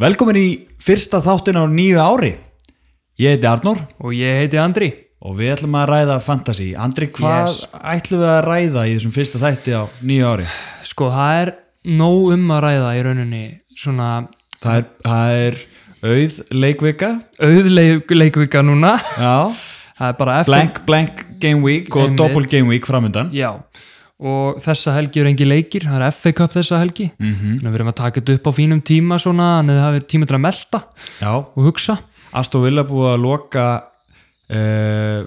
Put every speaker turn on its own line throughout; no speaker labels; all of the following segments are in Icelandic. Velkomin í fyrsta þáttin á nýju ári. Ég heiti Arnór
Og ég heiti Andri.
og við ætlum að ræða fantasy. Andri, hvað
Yes.
ætlum við að ræða í þessum fyrsta þætti á nýju ári?
Sko, það er nóg um að ræða í rauninni svona
Það er, það er auð leikvika,
auðleikvika núna.
já,
Það er bara FM.
blank, blank game week og
Einmitt.
double game week framöndan.
Já. Og þessa helgi eru engi leikir, það er FA Cup þessa helgi. Mm -hmm. Þannig að við erum að taka þetta upp á fínum tíma svona, en þið hafið tíma til að melta
Já,
og hugsa.
Astor Villa búið að loka uh,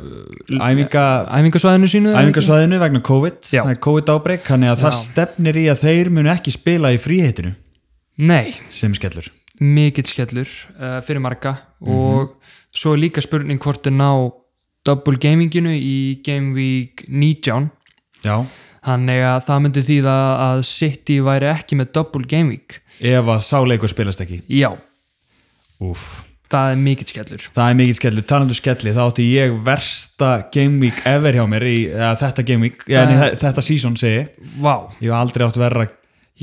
æfinga
Æfingasvæðinu sínu. eða ekki?
æfingasvæðinu vegna COVID,
Já.
það er COVID ábreyk þannig að það
Já.
stefnir í að þeir munu ekki spila í fríheitinu
Nei,
sem skellur
mikill skellur uh, fyrir marga og svo er líka spurning hvort er ná double gaminginu í Game Week 19
Já.
Þannig að það myndi þýða að City væri ekki með double game week.
ef að sáleikur spilast ekki
Já,
Úf.
það er mikill skellur.
það er mikið skellur, talandu skelli þá átti ég versta game week ever hjá mér í eða, þetta game week, ja, nei, þe- þetta season segi, ég.
Vá.
ég hef aldrei átt verra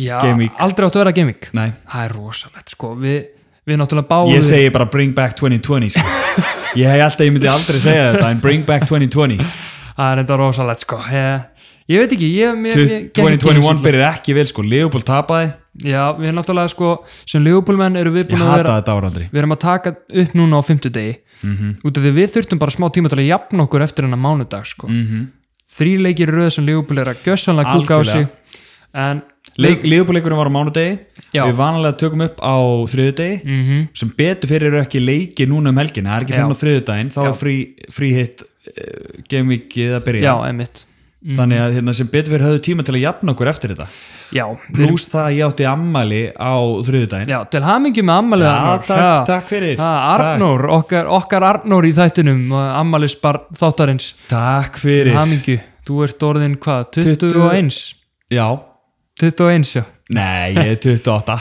Já,
Game week.
aldrei áttu að vera game week.
nei,
Það er rosalegt, sko. Við, við náttúrulega báðum.
ég segi bara bring back 2020 sko. ég hef alltaf, ég myndi aldrei segja þetta en bring back 2020
Það er enda rosalegt, sko. Ég, ég veit ekki, ég... Mér, mér, gekk ekki einu
2021
sinni.
byrjar ekki vel sko, Leopold tapaði
Já, við náttúrulega, sko, sem Leopoldmenn eru við
ég
búin að
hata
vera...
þetta árandri
Við erum að taka upp núna á fimmtudegi.
Mhm.
Út af því við þurftum bara smá tíma til að jafna okkur eftir hennar mánudag, sko. Mm -hmm. Þrý leikir í röð sem Leopold er að gjössanlega kúka á sig.
Mhm. Algjörlega.
En
Leik, Leifupúleikurinn var á mánudegi
Já. Mhm.
Við vanalega tökum upp á þriðudegi -hmm. sem betur fyrir eru ekki leiki núna um helgina það er ekki fyrir
Já.
á þriðudaginn þá er frí, frí hitt uh, gamevikið að byrja
Já, einmitt
þannig að hérna, sem betur fyrir höfðu tíma til að jafna okkur eftir þetta
Já, Plús,
pluss það að ég átti ammali á þriðudaginn
já til hamingi með ammalið Arnór
takk, takk fyrir
ha, Arnór, okkar, okkar Arnór í þættinum ammalið þáttarins
takk, takk fyrir
hamingi, þú ert orðin hvað
20
21,
Já,
21 já
nei, ég er 28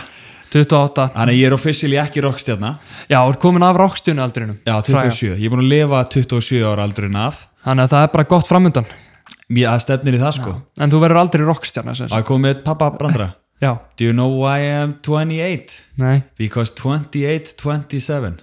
28,
Þannig að ég er officially ekki rockstjarna
já, er komin af rockstjónu aldrinum
Já, 27, ég er búin að lifa 27 ára aldurinn af
þannig að það er bara gott framöndan
Mér að stefnir í það sko
en þú verður aldrei rockstjóna
að koma með pappa brandara
já,
Do you know why I'm 28?
nei,
Because 28, 27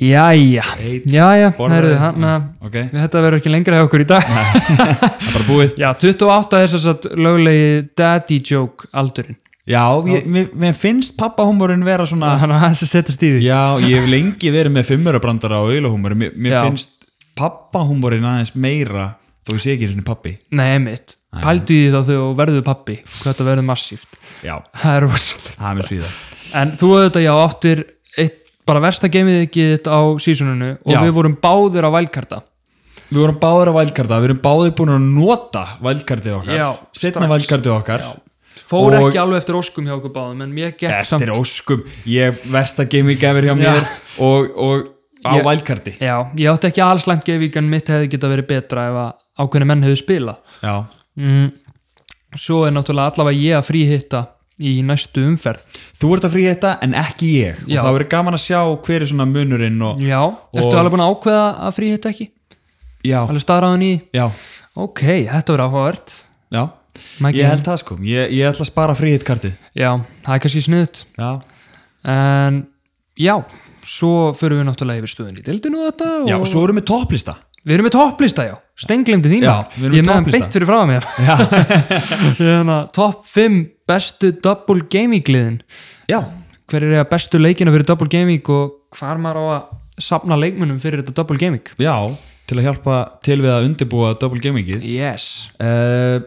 jæja
Eight,
jæja,
borðaði.
heyrðu, þannig að
Ok,
við þetta verður ekki lengra hjá okkur í dag
það er bara búið
já, 28 er þess að löglegi daddy joke aldurinn
Já, ég, mér, mér finnst pappahúmurinn vera svona
þannig að hans að setjast í því
Já, ég hef lengi verið með fimmura brandara og auðlahúmur Mér, mér
Já.
finnst pappahúmurinn aðeins meira þó ég sé ekki svona pappi
Nei, mitt. Pældu í því þá þau verður pappi, hvað þetta verður massíft.
Já,
Það er rosalegt.
það er mér svíða
En þú auðvitað, já, áttir eitt, bara versta geimið ekki þitt á sísoninu og
Já.
við vorum báðir á vælkarta.
Við vorum báðir að vælkarta, við erum báðir búin að nota vælkartið okkar
Já,
Setna
strax.
vælkartið okkar
Fór
Og-
ekki alveg eftir óskum hjá okkur báðum, en mér gekk
Eftir
samt.
óskum, ég versta gaming gefur hjá mér og, og á
Ég-
vælkarti
Já, ég átti ekki allslæmt geimið en mitt hefði geta verið betra ef að ákveðni menn hefðu spilað.
Já,
Mm. Svo er náttúrulega allavega ég að fríhitta í næstu umferð.
þú ert að fríhætta en ekki ég
Já.
og þá verður gaman að sjá hver er svona munurinn og
Já, ertu alveg búin að ákveða að fríhitta ekki?
já,
Alveg staðráðin í?
já,
Ok, þetta verður áhugavert.
já
Mækki-
ég held það sko, ég, ég ætla að spara fríhættkartið
Já, það er kannski snuðt
já,
En já, svo förum við náttúrulega yfir stöðun í deildinu og þetta og...
já, og svo erum við topplista
Við erum með topplista, já, stenglemdi þín
Já,
maður.
við erum með
Ég er með hann
topplista.
beitt fyrir frá mér Hérna, Topp 5 bestu double gaming liðin
já,
Hver er eða bestu leikina fyrir double gaming og hvar maður á að safna leikmunum fyrir þetta double gaming
já, til að hjálpa til við að undirbúa double gamingið
Yes,
uh,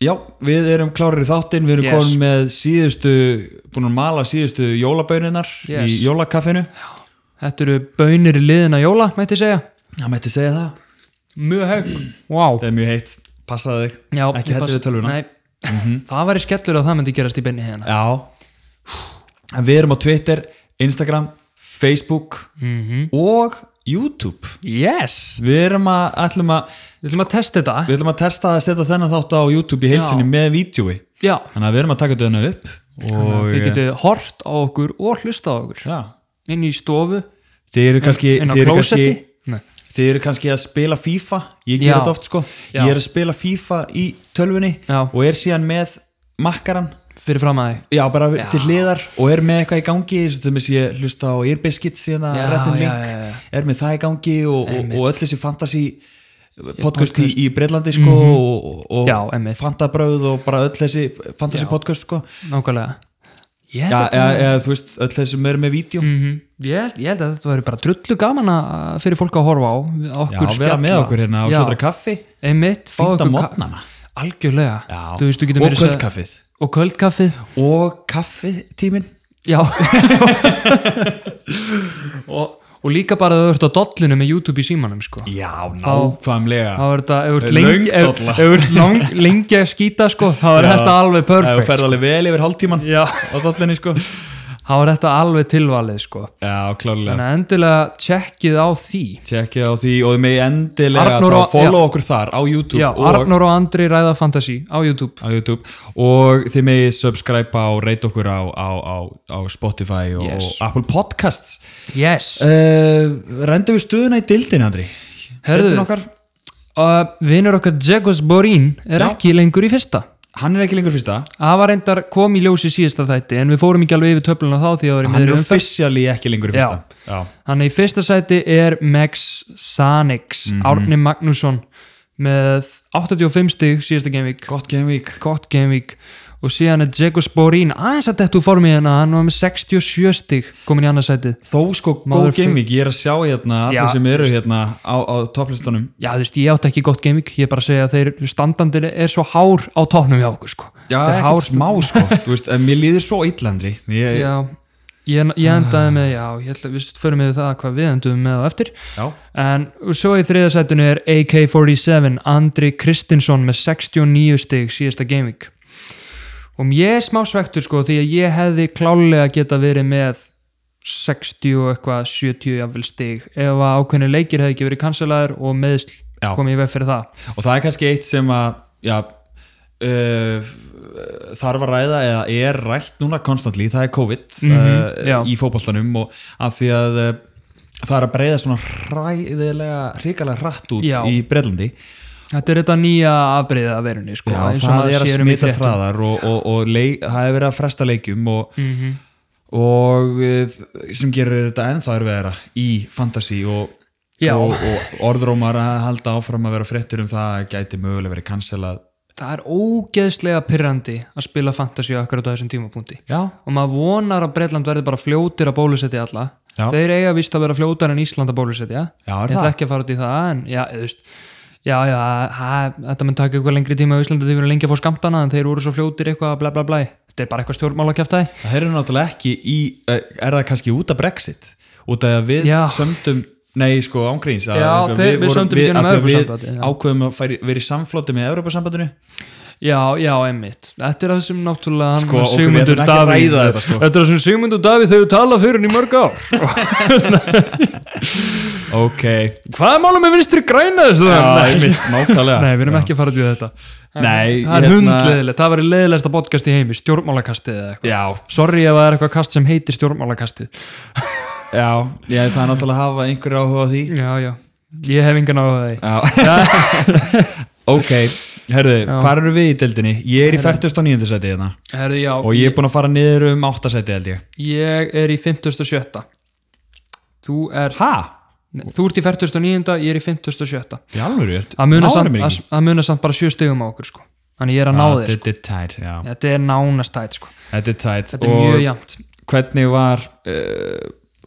já, við erum klárir í þáttinn, við erum
Yes.
yes. komin með síðustu, búin að mala síðustu jólaböninar í
Yes.
jólakaffinu
þetta eru bönir í liðina jóla, mætti ég segja
það mætti segja það,
Mjög haug, wow
það er mjög heitt passaði þig,
já,
ekki hættu við tölvuna Mhm.
Nei, það væri skellur að það myndi gerast í benni hérna
Já En við erum á Twitter, Instagram, Facebook og YouTube
Yes
Við erum að, ætlum að,
Við ætlum að testa þetta
við ætlum að testa að setja þennan þátt á YouTube í heilsinni
Já.
með vídjói
Já,
Þannig að við erum að taka þetta upp og eh,
þið getið hort á okkur og hlusta á okkur
já,
Inn í stofu,
Þið eru kannski,
inn á
þið eru kannski
klósetti Nei.
Þið eru kannski að spila FIFA Ég
Já.
ger þetta oft sko
Já.
Ég er að spila FIFA í tölvunni
Já.
og er síðan með makkaran
fyrir fram að þig
Já, bara
Já.
til hliðar og er með eitthvað í gangi eins og til þess að ég hlusta á Earbiskits hérna,
Já,
Rettin
já,
Link,
já, já.
er með það í gangi og, og,
Einmitt.
og öll þessi fantasy podcast í, í Breitlandi sko og, og
Mhm. Já, einmitt.
fantabröð og bara öll þessi fantasy podcast sko
nákvæmlega ég held,
Já, eh.
að,
eða, eða þú veist, öll þessi sem er með vídeo
Mhm. ég, held, ég held að þetta væri bara drullu gaman að- fyrir fólk að horfa á við-
Já,
okkur
vera með okkur hérna og
Já.
svo dra kaffi
einmitt, fá
Fynda
ykkur ka-
mótnana
algjörlega,
Já,
þú veist, þú getur
og
meira að segja-
kvöldkaffið
og kvöldkaffið
og kaffitímin
Já og, og líka bara að þú ert á dollinu með YouTube í símanum sko
Já, nákvæmlega
þá er þetta, ef þú ert
Löng
lengi ef
dolla.
ef þú ert lang- lengi að skýta sko þá er
Já.
þetta alveg
Það
perfect sko.
ferði alveg vel yfir hálftíman
Já.
á dollinni sko
þá er þetta alveg tilvalið sko
Já, klálega
þannig að endilega tjekkið á því
Tjekkið á því og þið megi endilega
Arnór
þá
og-
follow okkur þar á YouTube,
Já,
og,
Arnór og Andri ræða fantasy á YouTube
á YouTube og þið megi subscribe á, reyta okkur á, á, á, á Spotify og,
Yes.
og Apple Podcasts
Yes,
uh, Rendum við stöðuna í dildin, Andri
herðu
deildin okkar?
uh, Vinnur okkar Jegos Borín er
Já.
ekki lengur í fyrsta
Hann er ekki lengur fyrsta
Það var reyndar kom í ljósi síðasta þætti en við fórum ekki alveg yfir töfluna þá því að það var í
Hann
miðri
er
umferð.
officially ekki lengur í fyrsta Já.
Þannig í fyrsta sæti er Max Sanix,
Mhm.
Árni Magnússon með 85 stig síðasta gamevík,
Gott game week
gott gamevík og síðan er Djeko Sporín aðeins að þetta úr formið hérna, hann var með 67 stig komin í annað sætið.
Þó sko góð
Motherfuck-
game week, ég er að sjá hérna
Já,
allir sem eru hérna á, á topplistunum
Já, þú veist, ég átti ekki gott gamevík, ég er bara að segja að þeir standandin er svo hár á tóknum hjá okkur, sko.
Já,
Þetta er
ekkert smá sko Þú veist, en mér líður svo illandri ég,
Já, ég, ég endaði með, já, ég ætla, við förum yfir það hvað við endum með á eftir.
Já.
En svo í þriðasætinu er AK-47 Andri Kristinsson með 69 stig síðasta gameweek og ég er smá svektur sko því að ég hefði klálega geta verið með 60 og eitthvað 70 jafnvel stig ef að ákveðni leikir hefði ekki verið kanselaður og meðsl
Já.
komið í veg fyrir það
Og það er kannski eitt sem að já, uh, þarf að ræða eða er rætt núna konstantli, það er COVID
Mhm, já.
uh, í fótboltanum og að því að uh, það er að breyða svona ræðilega, hrikalega rætt út
Já.
í Breitlandi
Þetta er þetta nýja afbreyða af verunni sko
Já,
eins og
það
maður
er að
sér um í
smita
fréttum.
straðar og, og, og leik, það hefur verið að fresta leikjum og,
Mhm.
og eh, sem gerir þetta ennþá erfiðara í fantasy og,
Já.
og, og orðrómar að halda áfram að vera fréttur um það að gæti mögulega verið cancelað
Það er ógeðslega pyrrandi að spila fantasy akkurat á þessum tímapunkti
Já,
og maður vonar að Breitland verði bara fljótir að bólusetja alla
Já.
þeir eiga vist að vera fljótar en Ísland að bólusetja
Já,
ég
er
ætla
það?
ekki að fara út í það en já, þú veist já, já, ha, þetta mun taka eitthvað lengri tíma á Íslandi þeir verið lengi að fá skamtana en þeir voru svo fljótir eitthvað bla bla bla þetta er bara eitthvað stjórnmála
það heyrðu náttúrulega ekki í, eh, er það kannski út af Brexit út af að við
Já.
sömdum nei sko ángríns að-
Já,
að
þeir- við
vorum-
sömdum í
að því
gegnum
að
Evrópusambandið, já.
ákveðum að færi, vera í samflóti með Evropasambandinu
já, já, emmitt þetta er það sem náttúrulega hann
Sko, ok, við
Sigmundur
ætlum ekki að ræða
Davíð-
þetta, sko.
þetta er það sem Sigmundur Davíð þau tala fyrir hann í mörg ár
ok,
hvað er málum með vinstri græna þessu
já,
það?
einmitt, nákvæmlega
Nei, við erum
Já.
ekki að fara út í þetta
Nei,
Það er
hérna-
hundleðilegt, það var í leðilegsta podcast í heimi stjórnmálakastið eða eitthvað
Já,
Sorry ef það er eitthvað kast sem heitir stjórnmálakastið
Já, ég, það er náttúrulega að hafa einhverju áhuga á því
Já, já, ég hef engan á það
Já Ok, herðu, hvar eru við í deildinni? Ég er í 49. seti hérna
Herðu, já,
og ég er búinn að fara niður um 8 seti held ég
ég er í 57 Þú er
Ha?
Nei, Þú ert í 49, ég er í 57
Í alvöru, ég
Það munar samt,
mér
að- það munar samt bara sjö stegum á okkur sko. Þannig ég er að ná
ekki
þér sko.
Þetta er tært, já
Þetta er nánast tætt sko.
Þetta er tært
Þetta er mjög jæmt
hvernig var uh,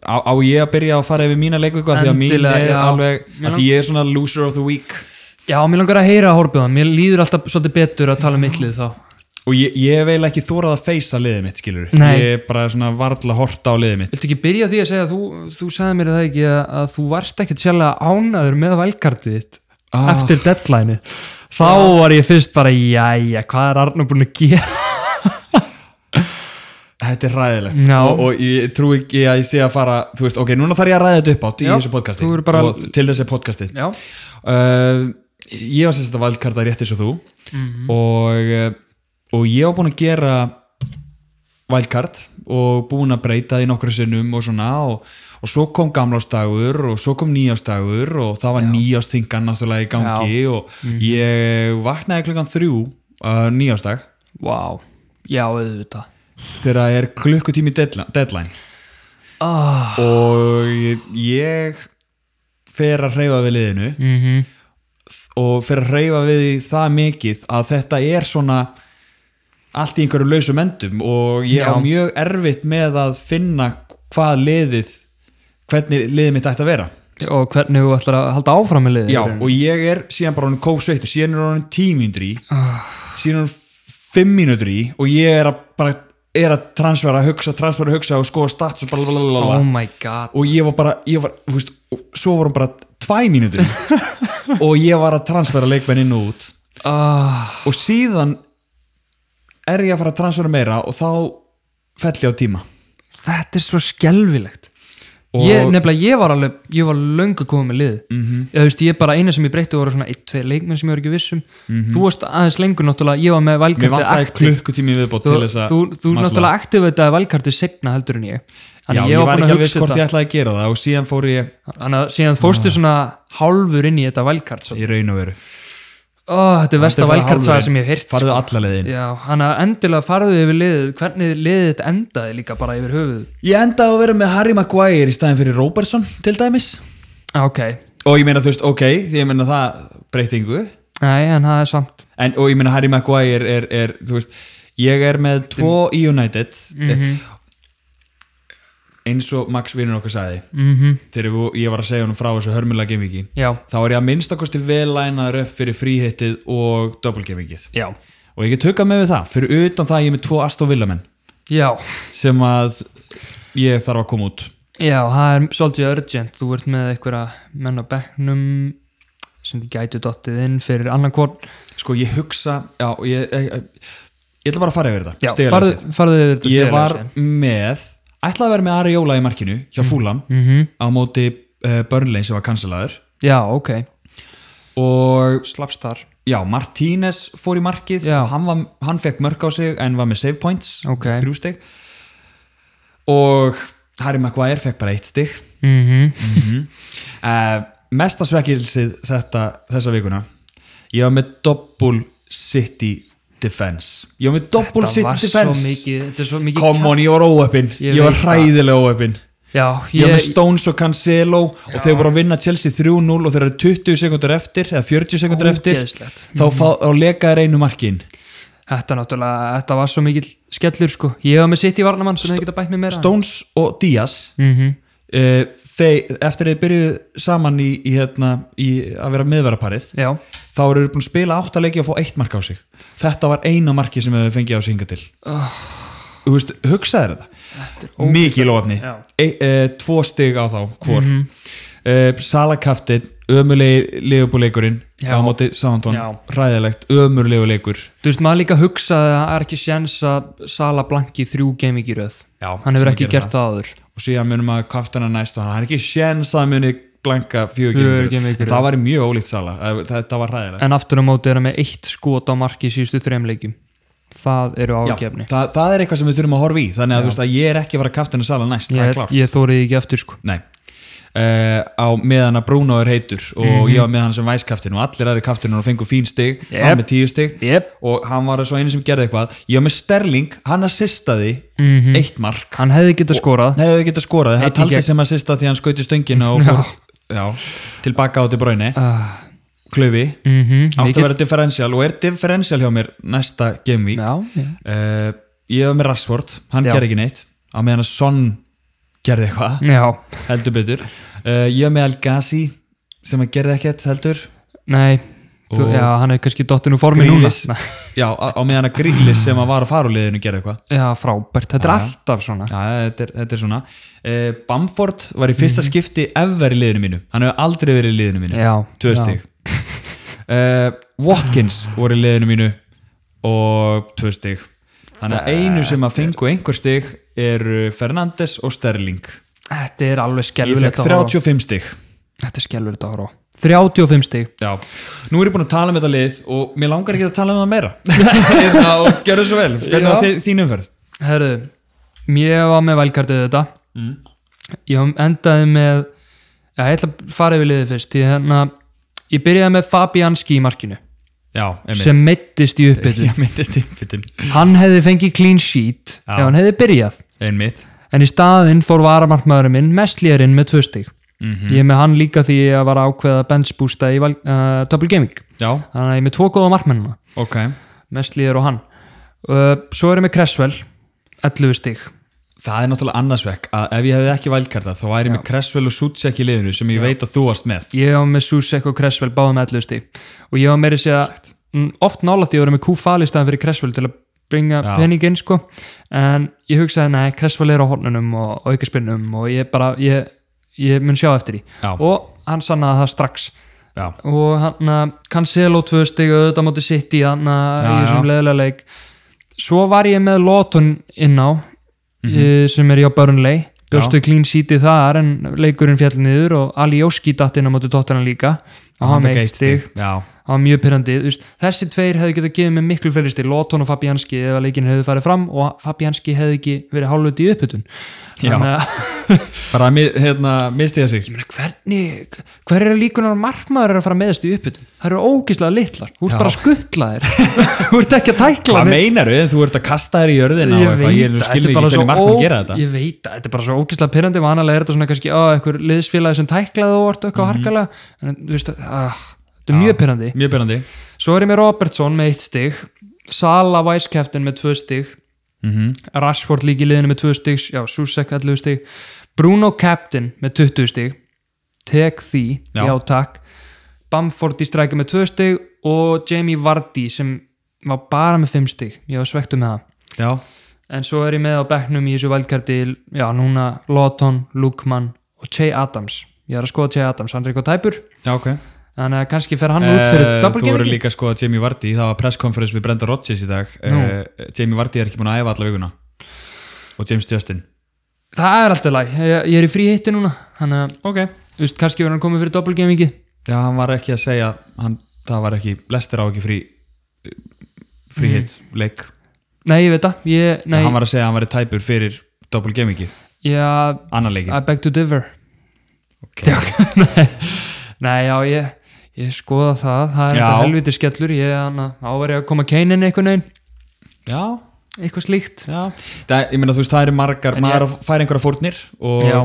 á, á ég að byrja að fara yfir mína leikvíku að því að mín
Endilega,
er
já.
alveg
Mér
að því ég er svona loser of the week
Já, mér langar að heyra að horfa það Mér líður alltaf svolítið betur að tala um mittlið þá
og ég, ég hef eiginlega ekki þórað að feysa liðið mitt skilur
Nei.
ég er bara svona varla að horta á liðið mitt
Viltu ekki byrja á því að segja að þú, þú sagði mér það ekki að, að þú varst ekkert sjálflega ánaður með valkartið þitt eftir deadline þá var ég fyrst bara, jæja, hvað er Arnur búin að gera?
Þetta er ræðilegt
Já.
og, og ég trú ekki að ég sé að fara þú veist, ok, núna þarf ég að ræða þetta upp átt í
Já,
þessu podcasti
þú eru bara-
og til þessi podcasti
Já,
uh, Ég var sem sagt að valdkarta rétt eins og þú og, uh, og ég var búinn að gera valdkart og búinn að breyta því nokkru sinnum og svona og, og svo kom gamlástagur og svo kom nýjástagur og það var nýjástingan náttúrulega í gangi og ég vaknaði klukkan þrjú uh, nýjásdag
vá já, auðvitað
þegar það er klukkutími deadline, deadline.
Ah.
og ég- ég fer að hreyfa við liðinu
mm
og fer að hreyfa við því það mikið að þetta er svona allt í einhverju lausum endum og ég á
Já.
mjög erfitt með að finna hvað liðið hvernig liðið mitt ætti að vera
og hvernig þú ætlar að halda áfram með liðið
já,
í rauninni.
og ég er síðan bara honum kófsveitt og síðan er honum tímíndur í síðan er honum fimm mínútur í og ég er að bara er að transfera, hugsa, transfera, hugsa og skoða stats og bara blablabla
oh my god
og ég var bara, ég var, þú veist og svo vorum bara tvæ mínútur í og ég var að transfera leikmenn inn og út
ah.
og síðan er ég að fara að transfera meira og þá fell ég á tíma
þetta er svo skelvilegt
Og-
ég, nefnilega ég var alveg ég var löngu komið með liðið
Mhm.
ég, þú veist, ég bara eina sem ég breytti voru svona 1-2 leikmenn sem ég var ekki vissum mm þú varst aðeins lengur náttúrulega ég var með
mér vantaði
valkarti
klukkutími í viðbót
þú,
til þess að
þú, þú
malla.
náttúrulega aktivitaði valkarti setna heldur en ég
já,
Þannig
ég
búin
var ekki
að
alveg
hugsa
viss hvort
þetta.
ég ætlaði að gera það og síðan fór ég
Þannig að síðan fórstu svona hálfur inn í þetta valkart svo.
í raun og veru
oh, Þetta er versta valkartsaga sem ég hef heyrt sko.
farðu alla leiðin
Já, hann að endilega farðu yfir liðið hvernig liðið þetta endaði líka bara yfir höfuð
ég endaði að vera með Harry Maguire í staðin fyrir Robertson til dæmis
Ok,
og ég meina þú veist, ok, því ég meina það breytingu
nei, en það er samt
en, og ég meina Harry Maguire er, er þú veist, ég er með tvo í United
Mhm.
Eh, eins og Max vinnur okkur sagði
mm
þegar við- ég var að segja honum frá þessu hörmulega gemviki
Já,
þá er ég að minnstakosti vel lænaður upp fyrir fríhittið og doppelgemvikið
já,
og ég get huggað með við það, fyrir utan það að ég er með tvo Aston Villamenn
já
sem að ég þarf að koma út
Já, það er svolítið urgent Þú ert með einhverja menn á bekknum sem þið gætu dottið inn fyrir annan korn
sko ég hugsa já, ég, ég, ég, ég ætla bara að fara yfir þetta
Já, farðu,
stigalagsins.
farðu yfir þetta
ég
stigalagsins.
var með ætlaði að vera með Ari Jóla í markinu hjá Fúlam
Mhm.
á móti uh, Burnley sem var kansalaður
Já, ok,
og
slappst þar
já, Martínez fór í markið
Já.
hann, var, hann fekk mörg á sig en var með save points
Ok.
þrjú stig og Harry Maguire fekk bara eitt stig
mm
uh, mesta svekkilsið þetta, þessa vikuna ég var með double city defense ég var með double
Þetta var
city
svo
defense
mikið, þetta er svo mikið
come on, ég var óöppin
Ég
ég, var
veit það.
hræðilega óöppin
Já,
Ég var með
ég,
Stones og Cancelo og þeir voru að vinna Chelsea 3-0 og þeir eru 20 sekundur eftir eða 40 sekundur eftir
Ógeðslegt. Mm.
þá, fá, þá leka þeir einu markin
þetta náttúrulega, þetta var svo mikill skellur sko, ég var með sitt í varnamann sem þið geta bætt mér meira
Stones og Díaz
mm
uh, þeir, eftir þeir byrjuðu saman í, í, hérna, í að vera miðverðarparið
Já,
þá eru þeir búin að spila 8 leiki og fá eitt mark á sig þetta var eina marki sem þeir fengið á sig hinga til Þú veist, hugsaðu þér
Ah. þetta er
þetta mikið lofni
Já.
e, e, tvo stig á þá hvor mm
Mhm.
-hmm. Salakaftin ömulegi liðbúleikurinn
Já.
á móti Sándón,
Já.
ræðilegt ömurlegu leikur
Þú veist, maður líka hugsaði að það er ekki séns að Sala blanki þrjú gaming í röð
Já,
Hann hefur
sem
ekki
gerir
gert það áður
og síðan munum að kaftina næstu hann hann er ekki séns að muni blanka
Fjögur
fjögur
geimverur.
það var mjög ólíkt Sala Eh, þetta var ræðilegt
En aftur á móti er hann með eitt skot á marki í síðustu þreimleikjum Það eru ágefni
það, það er eitthvað sem við þurfum að horfa í þannig að, þú veist, að ég er ekki að fara að kaftina Sala næst það er
Ég,
klart
ég þórið ekki aftur sko
Nei Uh, á meðan að Bruno er heitur og
Mhm.
ég var með hann sem væskaftin og allir aðri kaftinu og fengu fín stig, hann með tíu stig
Jep.
og hann var svo einu sem gerði eitthvað ég var með Sterling, hann assistaði eitt mark,
Hann hefði getað skorað
hann hefði getað skorað það
Mhm. Einn í
taldi
gegn.
sem assista því hann skauti stöngina og fór já, tilbaka á til bráinu
uh,
klöfi,
mm
átti að vera differential og er differential hjá mér næsta game week
Já, já.
uh, ég var með Rashford, hann
Já. Mm.
gerði ekki neitt á meðan að Son gerði eitthvað
já,
heldur betur uh, ég var með Al Ghazi sem að gerði ekkert heldur
nei þú,
Og-
Já, hann er kannski dottinn úr formi núna
Grílis, já, á, á meðan að Grílis sem að var að fara úr liðinu gerði eitthvað
Já, frábært, þetta er alltaf svona
já, þetta er, þetta er svona uh, Bamford var í fyrsta skipti ever í liðinu mínu, hann hefur aldrei verið í liðinu mínu
Mhm. Já,
tvö
já.
stig uh, Watkins voru í liðinu mínu og tvö stig þannig að einu sem að fengu einhver stig eru Fernandes og Sterling
Þetta er alveg
ég
skelvilegt
fekk
að horfa á.
35 stig
Þetta er skelvilegt að horfa á. 35 stig
Já, nú er ég búin að tala um þetta lið og mér langar ekki að tala um það meira Hérna, og gerðu svo vel, hvernig var
Já.
þi- þín umferð?
Herðu, mér var með valkartið þetta
Mm.
Ég endaði með Já, ég ætla að fara yfir liðið fyrst Því hérna, ég byrjaði með Fabianski í markinu
já,
sem meittist í uppbytun
ég myndist innbyttin
hann hefði fengið clean sheet
Já.
ef hann hefði byrjað
einmitt,
en í staðinn fór varamarkmaðurinn minn mestlýjarinn með tvö stig
Mhm.
ég er með hann líka því ég var að ákveða benchbústa í val, uh, Double Gaming
já,
þannig að ég er með tvo góða markmennina
ok
mestlýjar og hann uh, svo erum við Cresswell 11 stig
það er náttúrulega annarsvekk að ef ég hefði ekki valkarta þá væri með Cresswell og Sucek í liðinu sem ég veit að þú varst með
ég var með Susek og Cresswell báðum 11 stig og ég var meira að segja mm, oft nálætti ég var með Kúfal í staðan fyrir Cresswell til að bringa
Já.
peningin sko en ég hugsaði nei Cresswell er á hornunum og, og aukaspinnum og ég bara ég, ég mun sjá eftir því
Já.
og hann sannaði það strax
já,
og hann að Cancelo tvö stig auðvitað móti sitt í hann að
Já,
í þessum
já.
leðilega leik svo var ég með Lóton inn á
Mhm.
eh, sem er hjá Burnley bjóstu clean sheeti þar en leikurinn fjall niður og Ali Jóski datt inn á móti tóttarna líka og hann
fékk
með eitt stig
já,
hann var mjög pyrrandi þessi tveir hefði getað gefið mig miklu fleiri stig Lóton og Fabianski ef að leikinn hefði farið fram og Fabianski hefði ekki verið hálfut í upphytun
Já. bara að mi- hérna, mistiða sig
Ég meina, hvernig, hver eru líkunar markmaður er að fara meðast í uppbytun? Það eru ógíslega litlar, þú ert
Já.
bara að skuttla þér þú ert ekki að tækla
hvað
neitt.
meinar þau, þú ert að kasta þér í jörðina og
ég
eitthvað,
veit,
ég skilði
að, þetta er
ekki
bara svo
hvernig
ó,
markmann gera þetta
ég veit að, þetta er bara svo ógíslega pyrrandi vanalega er þetta svona kannski, að einhver liðsfélagi sem tæklaði og
Mhm.
orðt eitthvað harkalega en þú veist, að, þetta er mjög pyrrandi
mjög byrjandi
svo er ég með Robertson með eitt stig Sala Væskeftin með tvö stig
mm
Rashford líki liðinu með 2 stig já, Susek 11 stig Bruno Captain með 20 stig Tek því, já,
Já.
takk Bamford í strækja með 2 stig og Jamie Vardy sem var bara með 5 stig, ég var svektu með það
já,
en svo er ég með á bekknum í þessu valdkarti já, núna Lawton, Lukman og Che Adams, ég er að skoða Che Adams hann er eitthvað tæpur,
já, ok
þannig að kannski fer hann út fyrir
Eh,
double
Þú voru
gaming
líka að skoða Jamie Vardy, það var presskonferens við Brenda Rodgers í dag uh, Jamie Vardy er ekki búin að æfa alla vikuna og James Justin
það er alltaf læg, ég, ég er í frí hitti núna þannig að,
Ok
þú veist, kannski verður hann komið fyrir double gamingi
Já, hann var ekki að segja hann, það var ekki, lestir á ekki frí frí hit leik
Nei, ég veit það, ég, Mm. nei,
hann var að segja að hann væri tæpur fyrir double gamingið,
já,
annar leikið
I beg to differ.
okay.
Nei, já, ég, ég skoða það, það er
Já.
þetta helviti skellur, ég, hana, þá var ég að koma keinin einhvern veginn,
Já,
eitthvað slíkt.
já það, Ég meina þú veist, það eru margar,
En ég-
maður ég... fær einhverja fórnir og,
Já,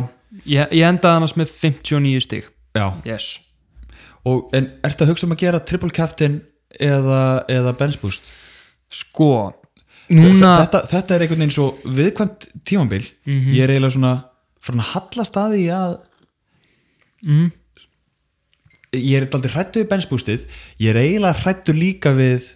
ég, ég endaði annars með 59 stík,
já.
yes.
Og, En ertu að hugsa um að gera triple captain eða, eða bench boost?
Sko, núna,
þetta, þetta er einhvern veginn svo viðkvæmt tímambil ég er eiginlega svona farin að halla staði að
Mhm.
ég er aldrei hrættu við bensbústið ég er eiginlega hrættu líka við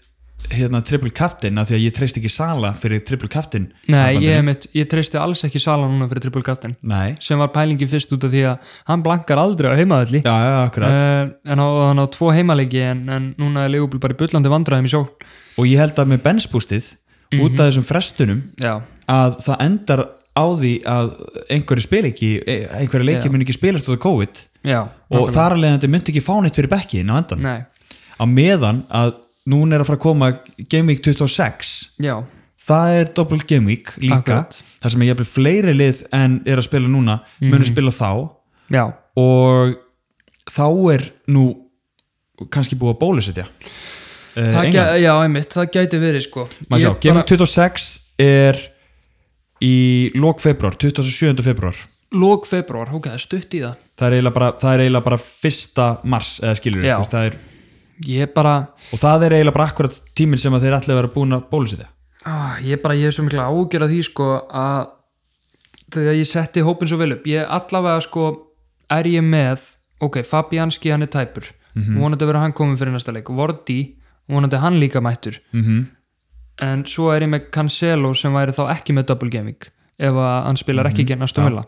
hérna triple captain af því að ég treyst ekki sala fyrir triple captain
nei,
sambandinu.
ég, mitt, ég treysti alls ekki sala núna fyrir triple captain,
nei,
sem var pælingi fyrst út af því að hann blankar aldrei á heimaðalli.
já, já, akkurat
Eh, en á, hann á tvo heimaleiki en, en núna er Leopold bara í bullandi vandræðum í sjól
og ég held að með bensbústið út
Mhm.
af þessum frestunum
já,
að það endar á því að einhverju spil ekki einhverju leikir
Já.
mun ekki spilast út af COVID
já,
og þar alveg þetta myndi ekki fá neitt fyrir bekkiðin á endan
nei,
á meðan að núna er að fara að koma Game Week 26
já
það er doppel Game Week líka
Akkurat.
þar sem ég hefði fleiri lið en er að spila núna munir
Mhm.
spila þá
Já,
og þá er nú kannski búið að bólusetja uh,
það, gæ,
England
já, einmitt, það gæti verið sko
Maður sjá,
Ég
Game
bara,
Week 26 er í lók februar 27. februar
Lók februar, ok, það er stutt í það
það er eiginlega bara, það er eiginlega bara fyrsta mars eða skilur
Já.
við er,
Ég bara,
og það er eiginlega bara akkurat tíminn sem að þeir ætla að vera búin að bólusetja
ah, ég bara, ég er svo mikla ágjör að því sko að þegar ég setti hópin svo vel upp ég allavega sko, er ég með ok, Fabianski hann er tæpur vonandi að vera hann komið fyrir næsta leik Vordi, vonandi hann líka mættur
mm -hmm.
en svo er ég með Cancelo sem væri þá ekki með double gaming ef að hann spilar ekki genna stömmila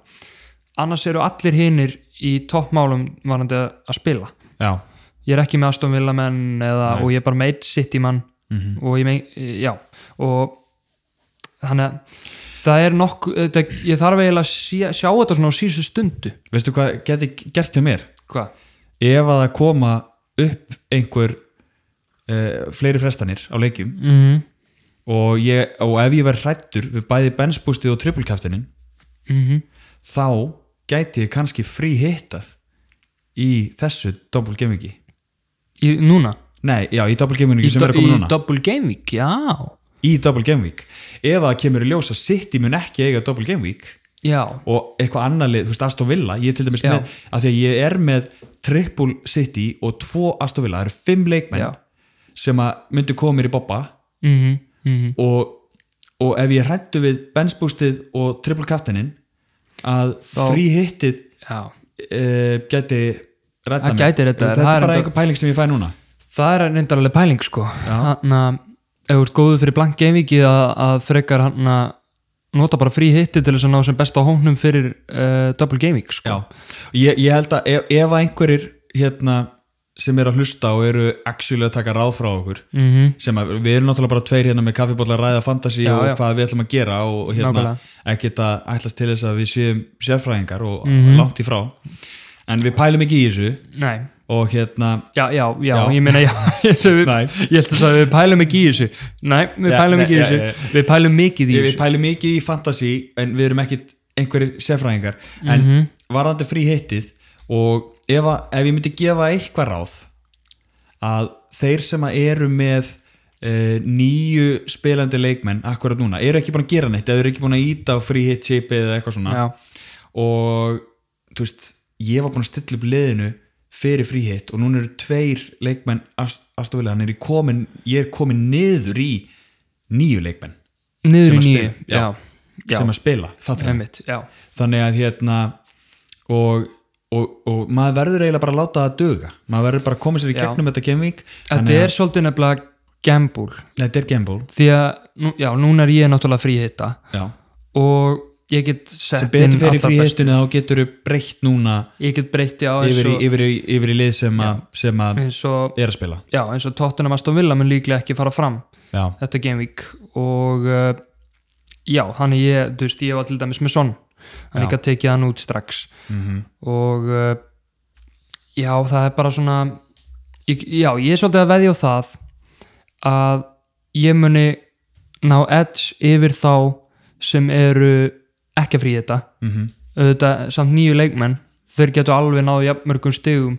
annars eru allir hinir í toppmálum varandi að að spila
já,
ég er ekki með Aston Villa menn eða, og ég er bara með eitt City mann og ég með, já og þannig að það er nokku, þetta, ég þarf eiginlega að sjá, sjá þetta svona á síðustu stundu
veistu hvað geti gert hjá mér
hvað?
ef að það koma upp einhver uh, fleiri frestanir á leikjum
Mm -hmm.
og, ég, og ef ég verð hrættur við bæði bensbústið og trippulkaftinin
Mhm.
þá gæti ég kannski frí hittað í þessu doppelgamingi
núna?
Nei, já, í double game
í,
week sem
do-
er að
í
koma núna
double game week, já
Í double game week Ef að kemur í ljós að City mun ekki eiga double game week
já,
og eitthvað annað lið, þú veist, Aston Villa ég er til dæmis
Já.
með, af því að ég er með triple City og tvo Aston Villa það eru fimm leikmenn
Já.
sem að myndu koma mér í bobba
mm
og, og ef ég hrættu við benchboostið og triple captainin að
Þá-
frí hittið
já.
uh, gæti redda
Það
mig.
gæti reddað þér,
þetta
það er
er bara
enda-
einhver pæling sem ég fæ núna
það er reyndar alveg pæling sko þannig að ef þú ert góður fyrir blank gamevíki að, að frekar hann að nota bara frí hitti til þess að ná sem best á hóknum fyrir uh, double gamevík sko.
ég, ég held að e, ef, ef að einhverjir hérna sem eru að hlusta og eru actually að taka ráð frá okkur
mm -hmm. sem
sem að við erum náttúrulega bara tveir hérna með kaffibóla ræða fantasy
Já,
og
já.
hvað við ætlum að gera og, og hérna
Nákvæmlega.
ekkert að ætlast til þess að við séum sérfræðingar og
Mhm.
langt í frá en við pælum ekki í þessu
Nei,
og hérna
já, já, já,
Já.
ég meina já, ég, við,
Nei.
ég held að það við pælum ekki í þessu Nei, við
Ja,
pælum
nei,
ekki í
ja,
þessu
ja, ja.
Við pælum mikið í
við, við
þessu
pælum ekki í fantasy en við erum ekkert einhverjir sérfræðingar en varðandi frí hittið og ef, að, ef ég myndi gefa eitthvað ráð að þeir sem að eru með Uh, nýju spilandi leikmenn akkurat núna, eru ekki búin að gera neitt eða eru ekki búin að íta á free hit shape eða eitthvað svona
Já,
og þú veist, ég var búinn að stilla upp liðinu fyrir fríhitt og núna eru tveir leikmenn aðstofilega, hann er í komin ég er komin niður í nýju leikmenn
niður
Sem
í
að
nýju
spila,
Já,
já.
já,
sem að spila, fattar við.
einmitt, já
þannig að hérna og, og, og maður verður eiginlega bara að láta það duga maður verður bara að koma sér í
Já.
gegnum þetta gemvík
Þetta er svolítið nefnilega gamble
þetta er gamble
því að, nú- já, núna er ég náttúrulega frí hitta
já.
og ég get sett
sem betur
inn
fyrir
allra bestu.
fríhittinu þá getur þú breytt núna
ég get breytti á eins
yfir, í-
og,
yfir, í- yfir í lið sem, að, sem að
eins og
er að spila
já, eins og Tottenham Aston Villa mun líklega ekki fara fram
já,
þetta gameweek og uh, já, þannig ég, þú veist, ég var til dæmis með Son,
Já.
hann ekki að tekið hann út strax
Mhm.
og uh, já, það er bara svona ég, já, ég er svolítið að veðja á það að ég muni ná edge yfir þá sem eru ekki að frí þetta
Mhm.
auðvitað samt nýju leikmenn þeir getur alveg náðu jafn mörgum stigum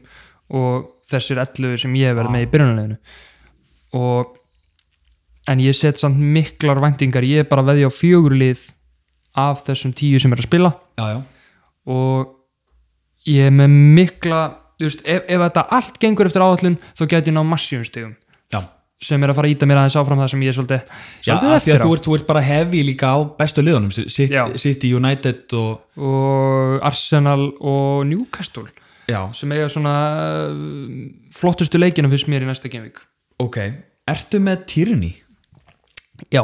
og þessir ellu sem ég verð með í byrjunarleginu og en ég set samt miklar væntingar ég er bara að veðja á fjögurlið af þessum tíu sem er að spila
já, já
og ég er með mikla þú veist, ef, ef þetta allt gengur eftir áallun þá get ég ná massíum stigum
Já,
sem er að fara að íta mér aðeins áfram það sem ég er svolítið,
Já,
svolítið
af því
eftir
að
á
þú ert, þú ert bara hefi líka á bestu liðunum City,
Já.
City United og
og Arsenal og Newcastle
Já,
sem eiga svona uh, flottustu leikina fyrst mér í næsta gameweek
ok Ertu með Tyranny?
já,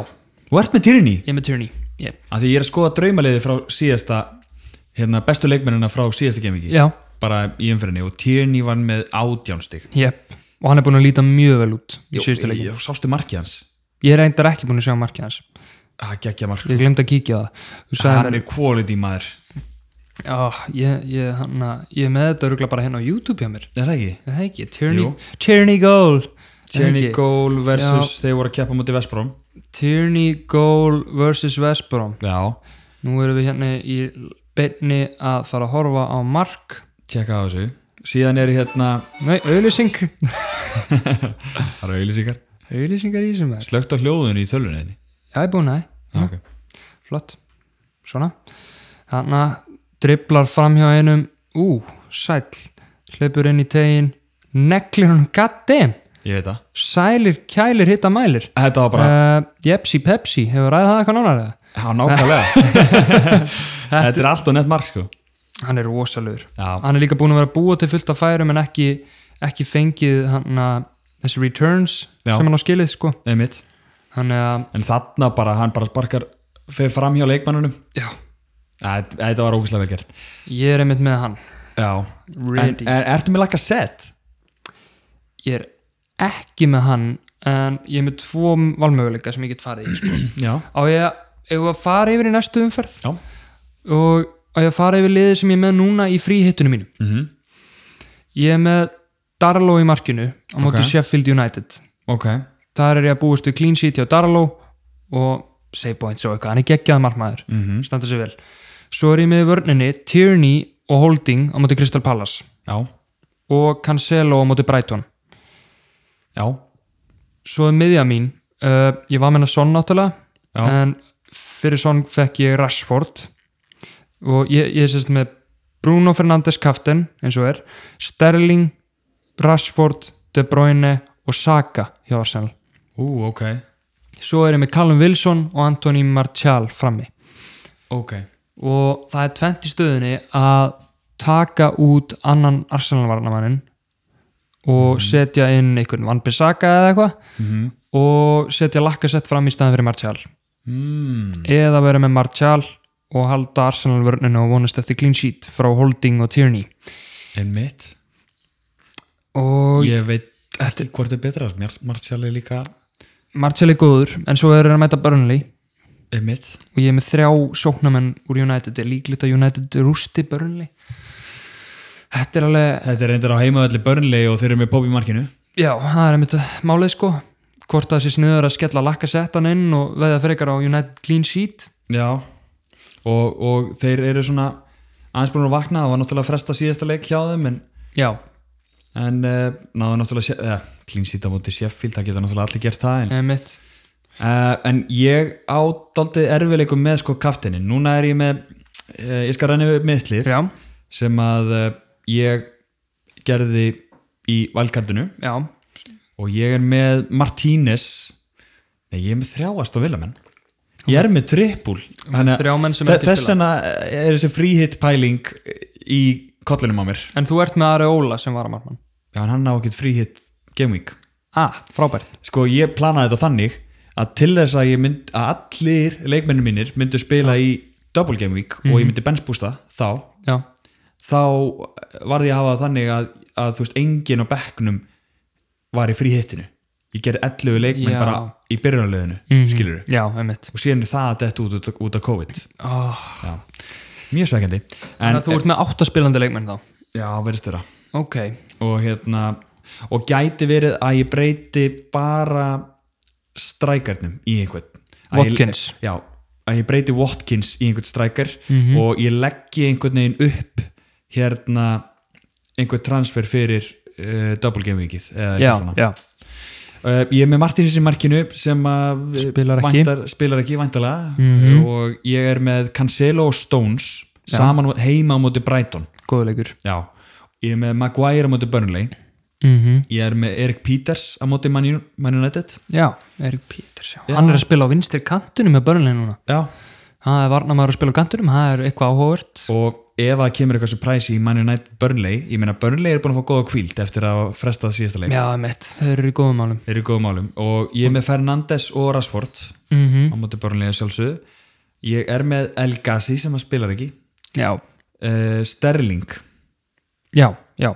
Þú ert með Tyranny?
ég er með Tierney yep.
Af því ég er að skoða draumaliði frá síðasta hérna, bestu leikmennina frá síðasta kemiki
já,
bara í umfyrinni og Tyranny var með átjánstig
yep. og hann er búin að líta mjög vel út í síðustu leikin,
Sástu markið hans?
ég er reyndar ekki búin að sjá markið hans,
Það gekkja mark
ég glemt að kíkja á það þú sagði
Hann er quality maður
mér, já, ég, ég, hana, ég er með þetta örugla bara hérna á YouTube hjá mér
Er það ekki?
Er það ekki, Tierney, Tierney Goal Er það
Jenny
ekki?
Goal versus þeir voru að keppa mútið Vespróm
Tierney Goal vs. Vesperom
Já,
nú erum við hérna í beinni að fara að horfa á mark
tjekka á þessu Síðan er hérna,
nei, auðlýsing
það eru auðlýsingar
auðlýsingar í sem er
Slögt á hljóðunni í tölvunni
Já, ég er búin að,
ah, okay.
flott Svona Hanna driblar fram hjá einum Ú, sæll Hleypur inn í tegin Neglir hann goddamn
Ég veit það
Sælir, kælir, hitta mælir
Þetta var bara,
uh, Jepsi, Pepsi, hefur ræðið það eitthvað nánar eða?
já nákvæmlega Þetta er allt og nett mark sko
Hann er rosalur
Já,
Hann er líka búin að vera að búa til fullt af færum En ekki, ekki fengið hann að Þessi returns
Já.
sem hann á skilið sko
einmitt
Hann er að,
En þarna bara, hann bara sparkar fyrir fram hjá leikmannunum
já
Þetta þetta var ógæslega vel gert
Ég er einmitt með hann
Já En
Really?
er, ertu með laka set?
ég er ekki með hann en ég er með tvo valmöguleika sem ég get farið í sko.
Já
á ég að- eigum við að fara yfir í næstu umferð
Já
og á ég að fara yfir liðið sem ég er með núna í fríhittunum mínum
mm
ég er með Darlow í markinu á móti
Ok.
Sheffield United
Ok
þar er ég að búast við clean sheet hjá Darlow og save points og eitthvað, hann er geggjað markmaður
mm -hmm.
standa sér vel svo er ég með í vörninni Tierney og Holding á móti Crystal Palace
Já
og Cancelo á móti Brighton
já,
svo er miðja mín uh, ég var með hennar Son náttúrulega
Já.
en fyrir Son fekk ég Rashford og ég, ég sérst með Bruno Fernandes kaftin eins og er, Sterling Rashford, De Bruyne og Saka hjá Arsenal
ú, ok
svo er ég með Callum Wilson og Anthony Martial frammi
ok,
og það er tvennt í stöðunni að taka út annan Arsenal-varnamannin og setja inn einhvern Van Bissaka eða eitthvað
mhm
og setja lakkasett fram í staðan fyrir Martial
mm.
eða vera með Martial og halda Arsenal vörninu og vonast eftir clean sheet frá Holding og Tierney
en mitt
og
ég veit ekki hvort er betra Mar- Martial er líka
Martial er góður en svo er hann að mæta Burnley
en mitt
og ég er með þrjá sóknamenn úr United er líklegt að United rústi Burnley þetta er alveg
þetta er reyndar á heimavalli Burnley og þeir eru með Bobby Markinu
já, það er einmitt málið sko hvort það sé sniður að skella lakkasettan inn og veða frekar á United clean sheet
já og, og þeir eru svona aðeins búin að vakna, það var náttúrulega fresta síðasta leik hjá þeim en,
já,
en uh, náðu náttúrulega uh, klínsýta múti Sheffield, það geta náttúrulega allir gert það en,
einmitt
uh, en ég á daldið erfileikum með sko kaftinin, núna er ég með uh, ég skal renna við mitt lið
já,
sem að uh, ég gerði í valkartinu
já,
og ég er með Martínez nei, ég er með þrjáast á Villamenn ég er með trippul
þrjá menn sem ekki
þess
spila.
vegna eh, er þessi fríhitt pæling í kollinum á mér
en þú ert með Ari Óla sem varamarmann
já, en hann á ekkert fríhitt gameweek
ah, frábært
sko, ég planaði þetta þannig að til þess að, ég mynd, að allir leikmennir mínir myndu spila í double gameweek og ég myndi benchbústa þá
já,
þá varði ég að hafa það þannig að, að þú veist, enginn á bekknum var í fríhittinu ég gerði 11 leikmenn
Já. Mhm.
bara í byrjunarleginu, mm skilur
já, einmitt
og síðan er það að detta út, út, út af COVID
oh,
já. mjög svekkjandi
en,
en
þú ert með áttaspilandi leikmenn þá
já, verðist þeirra
ok,
og hérna og gæti verið að ég breyti bara strækarnum í einhvern Að ég-
Watkins.
já, að ég breyti Watkins í einhvern strækar
Mhm.
og ég leggji einhvern veginn upp hérna einhvern transfer fyrir uh, double game vikið eða
já,
eitthvað svona
já
Uh, ég er með Martínez í markinu sem að
Spilar ekki. Mhm.
væntar, spilar ekki væntalega og ég er með Cancelo og Stones saman heima á móti Brighton
góðuleikur
já. ég er með Maguire á móti Burnley
mm -hmm.
ég er með Erik Peters á móti Man U- Man United
já, Erik Peters, já. hann er að spila á vinstri kantunum með börnlegin núna
já.
það er varnamaður að spila á kantunum, það er eitthvað áhugavert
og ef það kemur eitthvað surprise í Man United Burnley ég meina Burnley er búin að fá góða kvíld eftir að fresta það síðasta leik
já, einmitt, þeir eru í góðum málum
þeir eru í góðum málum og ég er með Fernandes og Rashford
mm
á móti Burnley að sjálfsögðu ég er með El Gassi sem að spilar ekki
já,
uh, Sterling
já, já,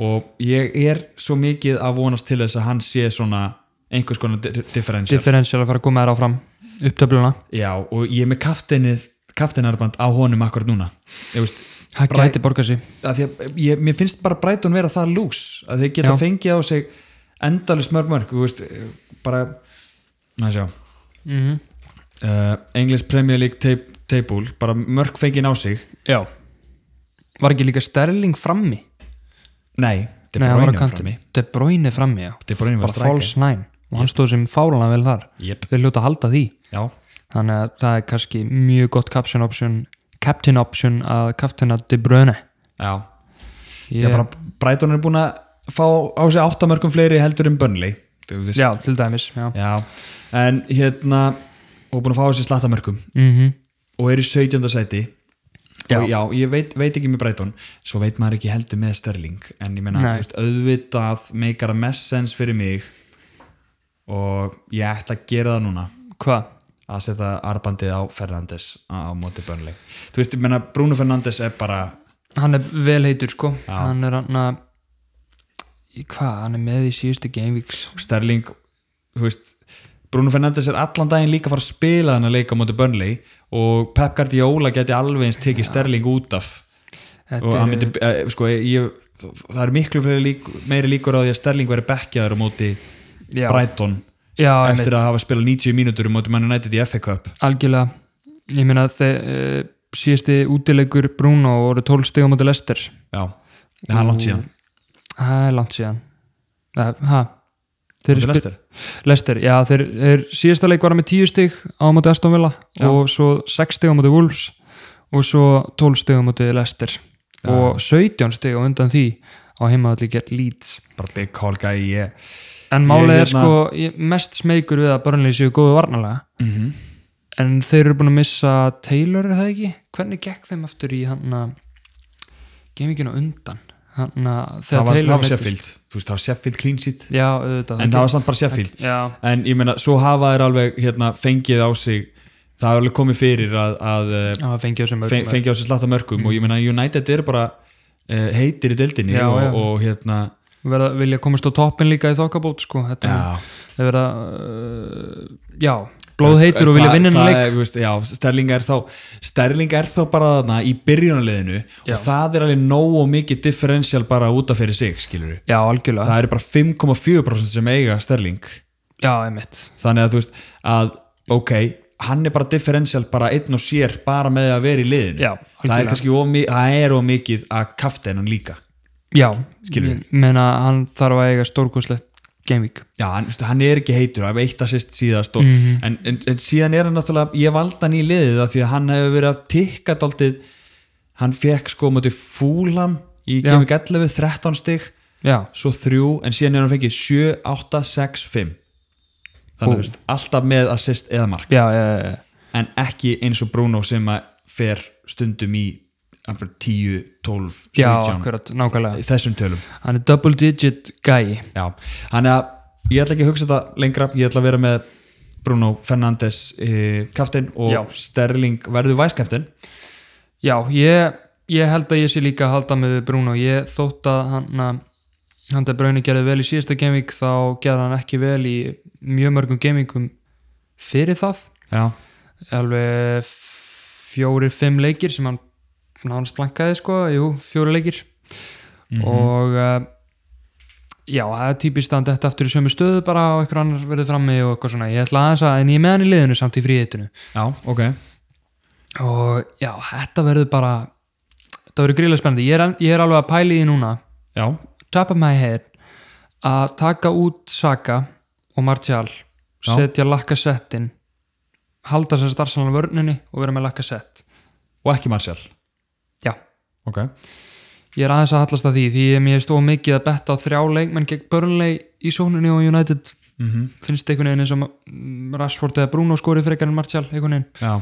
og ég er svo mikið að vonast til þess að hann sé svona einhvers konar di- differential
differential að fara að koma þér áfram upptöfluna,
já og ég er með kafteinið kaftinarband á honum akkurat núna ég veist
það
Bra-
gæti borga sig
að því að ég, mér finnst bara Brighton vera það lús að þeir geta
Já.
fengið á sig endalist mörg mörg þú veist, bara að sjá
mm -hmm.
uh, English Premier League tab- table bara mörg fengið á sig
já var ekki líka Sterling frammi
nei, De
Nei, hann var
Bruyne
á
var
kanti.
frammi
De Bruyne frammi, já
De Bruyne var
bara
striker.
false nine og hann stóð sem fálanlega vel þar
yep.
þeir hljóta að halda því
já,
þannig að það er kannski mjög gott caption option captain option að captaina De Bruyne
já.
ég,
Yeah. Bara, Brighton er búin að fá á sig áttamörgum fleiri heldur um Burnley Þú veist-
já, til dæmis já.
Já, en hérna og búin að fá á sig slattamörkum
Mm
og er í 17. sæti
Já.
og já, ég veit, veit ekki með Brighton svo veit maður ekki heldur með Sterling en ég meina,
Nei.
þú veist, auðvitað meikar að mest sens fyrir mig og ég ætti að gera það núna
hvað?
að setja arbandið á Fernandes á á móti Burnley þú veist, ég meina, Bruno Fernandes er bara
hann er vel heitur sko hann er hann að í hvað, hann er með í síðustu gameweeks
Sterling þú veist, Bruno Fernandes er allan daginn líka að fara að spila hann að leika á móti Burnley og Pep Guardiola geti alveg eins tekið Sterling út af og
þetta
hann
er
myndi, eh, sko, ég, það er miklu fleiri lík, meiri líkur á því að Sterling veri bekkjaður á móti
já,
Brighton
já,
eftir
eftir
að hafa spilað 90 mínútur á móti Man United í FA Cup
algjörlega ég meina að þeir uh, síðusti útilegur Bruno og voru 12 stegum áttu lestir
já, það er langt síðan
það er langt síðan það, Eh, ha, Þeir
Móti
spi-
Leicester.
Lester, já, þeir, þeir síðasta leik var hann með 10 stig á móti Aston Villa
Já.
og svo 6 stig á móti Wolves og svo 12 stig á móti Lester og 17 stig á undan því á heimavalli gegn Leeds
bara big call guy yeah.
en
Ég
málið er
hérna-
sko ég, mest smeykur við að Burnley séu góðu varnalega
mm -hmm.
en þeir eru búin að missa Taylor er það ekki? Hvernig gekk þeim aftur í hann að geimikinu undan hann að
það
þegar
var, það
Taylor
var
meiddist?
Sheffield þú veist, það var Sheffield clean sheet
Já, auðvitað
en það var samt bara Sheffield
Já,
en ég meina, svo hafa þær alveg hérna, fengið á sig það er alveg komið fyrir að, að eh,
það var fengið á þessum
fe- fengið á sig slatta mörgum og ég meina United eru bara uh, heitir í deildinni
Mm. Já,
og,
já.
og hérna
verða, vilja komast á toppin líka í þokkabót sko. þetta er-
já,
þeir verða uh, já,
sko,
blóð heitur og vilja
Hvað-
vinna
hvað
hennar leik
er, þú veist, já, Sterling er þá Sterling er þá bara þarna í byrjunarliðinu
Já.
og það er alveg nóg og mikið differential bara út af fyrir sig skilur
já, algjörlega,
það eru bara 5,4% sem eiga Sterling
já, einmitt
þannig að þú veist að ok, hann er bara differential bara einn og sér bara með að vera í liðinu
já,
það er
algjörlega.
kannski of, mi- það er of mikið að kafta hennan líka
já,
Skilur
ég meina hann þarf að eiga stórkoslegt gamevík
já, hann, þú veist, hann er ekki heitur, hann er eitt að sýst síðast og,
Mhm.
en, en, en síðan er hann náttúrulega ég valda hann í liðið af því að hann hefur verið að tikka daldið hann fekk sko mútið fúlam í
Já.
Game Week 11, 13 stig
já,
svo 3, en síðan er hann fengið 7, 8, 6, 5 þannig
Ó.
að þú veist, alltaf með assist eða mark
já, já, já, já.
en ekki eins og Bruno sem að fer stundum í hann bara 10, 12,
já
17
akkurat, nákvæmlega
þessum tölum
hann er double digit guy
já, þannig að ég ætla ekki að hugsa þetta lengra, ég ætla að vera með Bruno Fernandes eh, kaftin og
Já.
Sterling verður væskaftin
já, ég, ég held að ég sé líka að halda mig við Bruno, ég þótt að hann að hann að Bruyne gerði vel í síðasta gamevík þá gerði hann ekki vel í mjög mörgum gamevíkum fyrir það
já,
alveg fjórir, fimm leikir sem hann nánast blankaði sko, jú, fjórir leikir og uh, já, það er típist að hann þetta aftur í sömu stöðu bara og einhver annar verður frammi og eitthvað svona, ég ætla aðeins að, en ég er með hann í liðinu samt í fríðitinu
já, ok
og já, þetta verður bara þetta verður gríðlega spennandi ég er, ég er alveg að pæli því núna
já,
top of my head að taka út Saka og Martial
Já.
setja lakka settin halda sér starfsalan vörninni og vera með lakka sett
og ekki Marcel
já,
ok,
ég er aðeins að hallast að því því ég mér stóð mikið að betta á þrjá leikmenn gegn Burnley í sókninni og United
Mhm.
finnst einhvern veginn eins og mm, Rashford eða Bruno skori frekar en Martial einhvern veginn
já,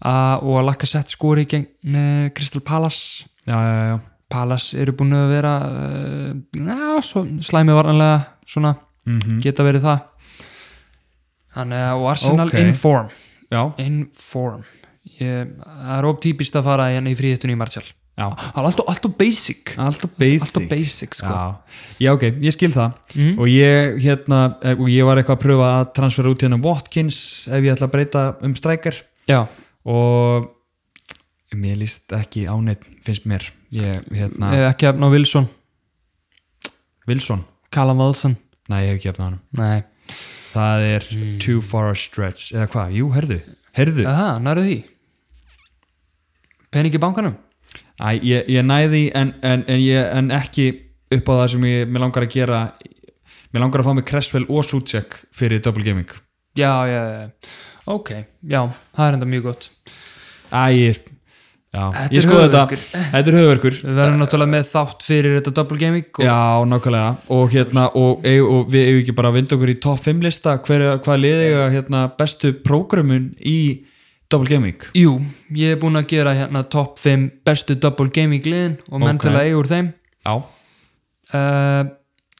A, og að lakka sett skori gegn uh, Crystal Palace
já, já, já,
Palace eru búin að vera uh, já, svo, slæmi varnanlega svona,
mm
geta verið það Þannig að, og Arsenal
Ok.
in form
já,
in form ég, það er of típist að fara hérna í fríðettinu í Martial
já.
það er alltaf, alltaf basic
alltaf basic,
alltaf basic sko
Já. já, ok, ég skil það
Mhm.
og ég hérna, eh, og ég var eitthvað að pröfa að transfera út hérna Watkins ef ég ætla að breyta um strækjar
já,
og mér líst ekki áneitt, finnst mér ég, hérna,
Ef eh, ekki efna á Wilson
Wilson
Callum Wilson
nei, ég hef ekki efna hann
nei,
það er
Hmm.
too far a stretch eða hvað, jú, herðu, herðu
eða það, nærðu því peningi bankanum
Æ, ég, ég næði en, en, en, ég, en ekki upp á það sem ég mér langar að gera mér langar að fá mig Cresswell og Suchek fyrir Double Gaming
já, já, já, ok já, það er enda mjög gott
Æ, ég, já,
Þetta
ég
er
skoði þetta
höfuðverkur.
þetta er höfverkur
Við verðum náttúrulega með þátt fyrir þetta double gaming og
Já, nákvæmlega og, hérna, og, eig- og við eigum ekki bara að vinda okkur í top 5 lista hver, hvað liði eiga hérna, bestu prógramun í Double Gaming
jú, ég er búinn að gera hérna top 5 bestu double gaming liðin og menn
Ok.
til að eiga úr þeim
Já,
uh,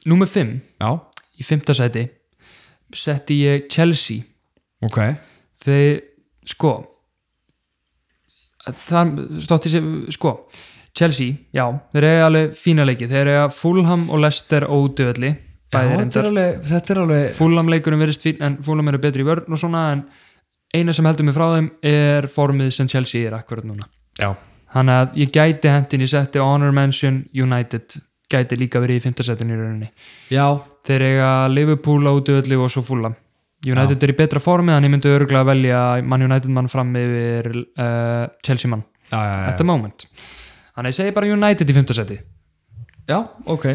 Númer 5,
já,
í 5. sæti setti ég Chelsea
ok
þeir, sko það stótti sér, sko Chelsea, já, þeir eiga alveg fína leiki þeir eiga Fulham og Leicester ódöðli
já,
bæði
þetta, er
reyndar
alveg, þetta er alveg
Fulham leikurinn verist fín en Fulham eru betri í vörn og svona en eina sem heldur mig frá þeim er formið sem Chelsea er akkurat núna
Já,
Þannig að ég gæti hendin í setti Honor Mansion United gæti líka verið í fintasettinu í rauninni.
já,
Þeir eiga Liverpool á útöðli og svo fúla. United er í betra formi þannig ég myndi örgulega velja mann United mann fram yfir uh, Chelsea mann
já, já,
at the moment. Þannig að ég segi bara United í fintasetti.
já, já ok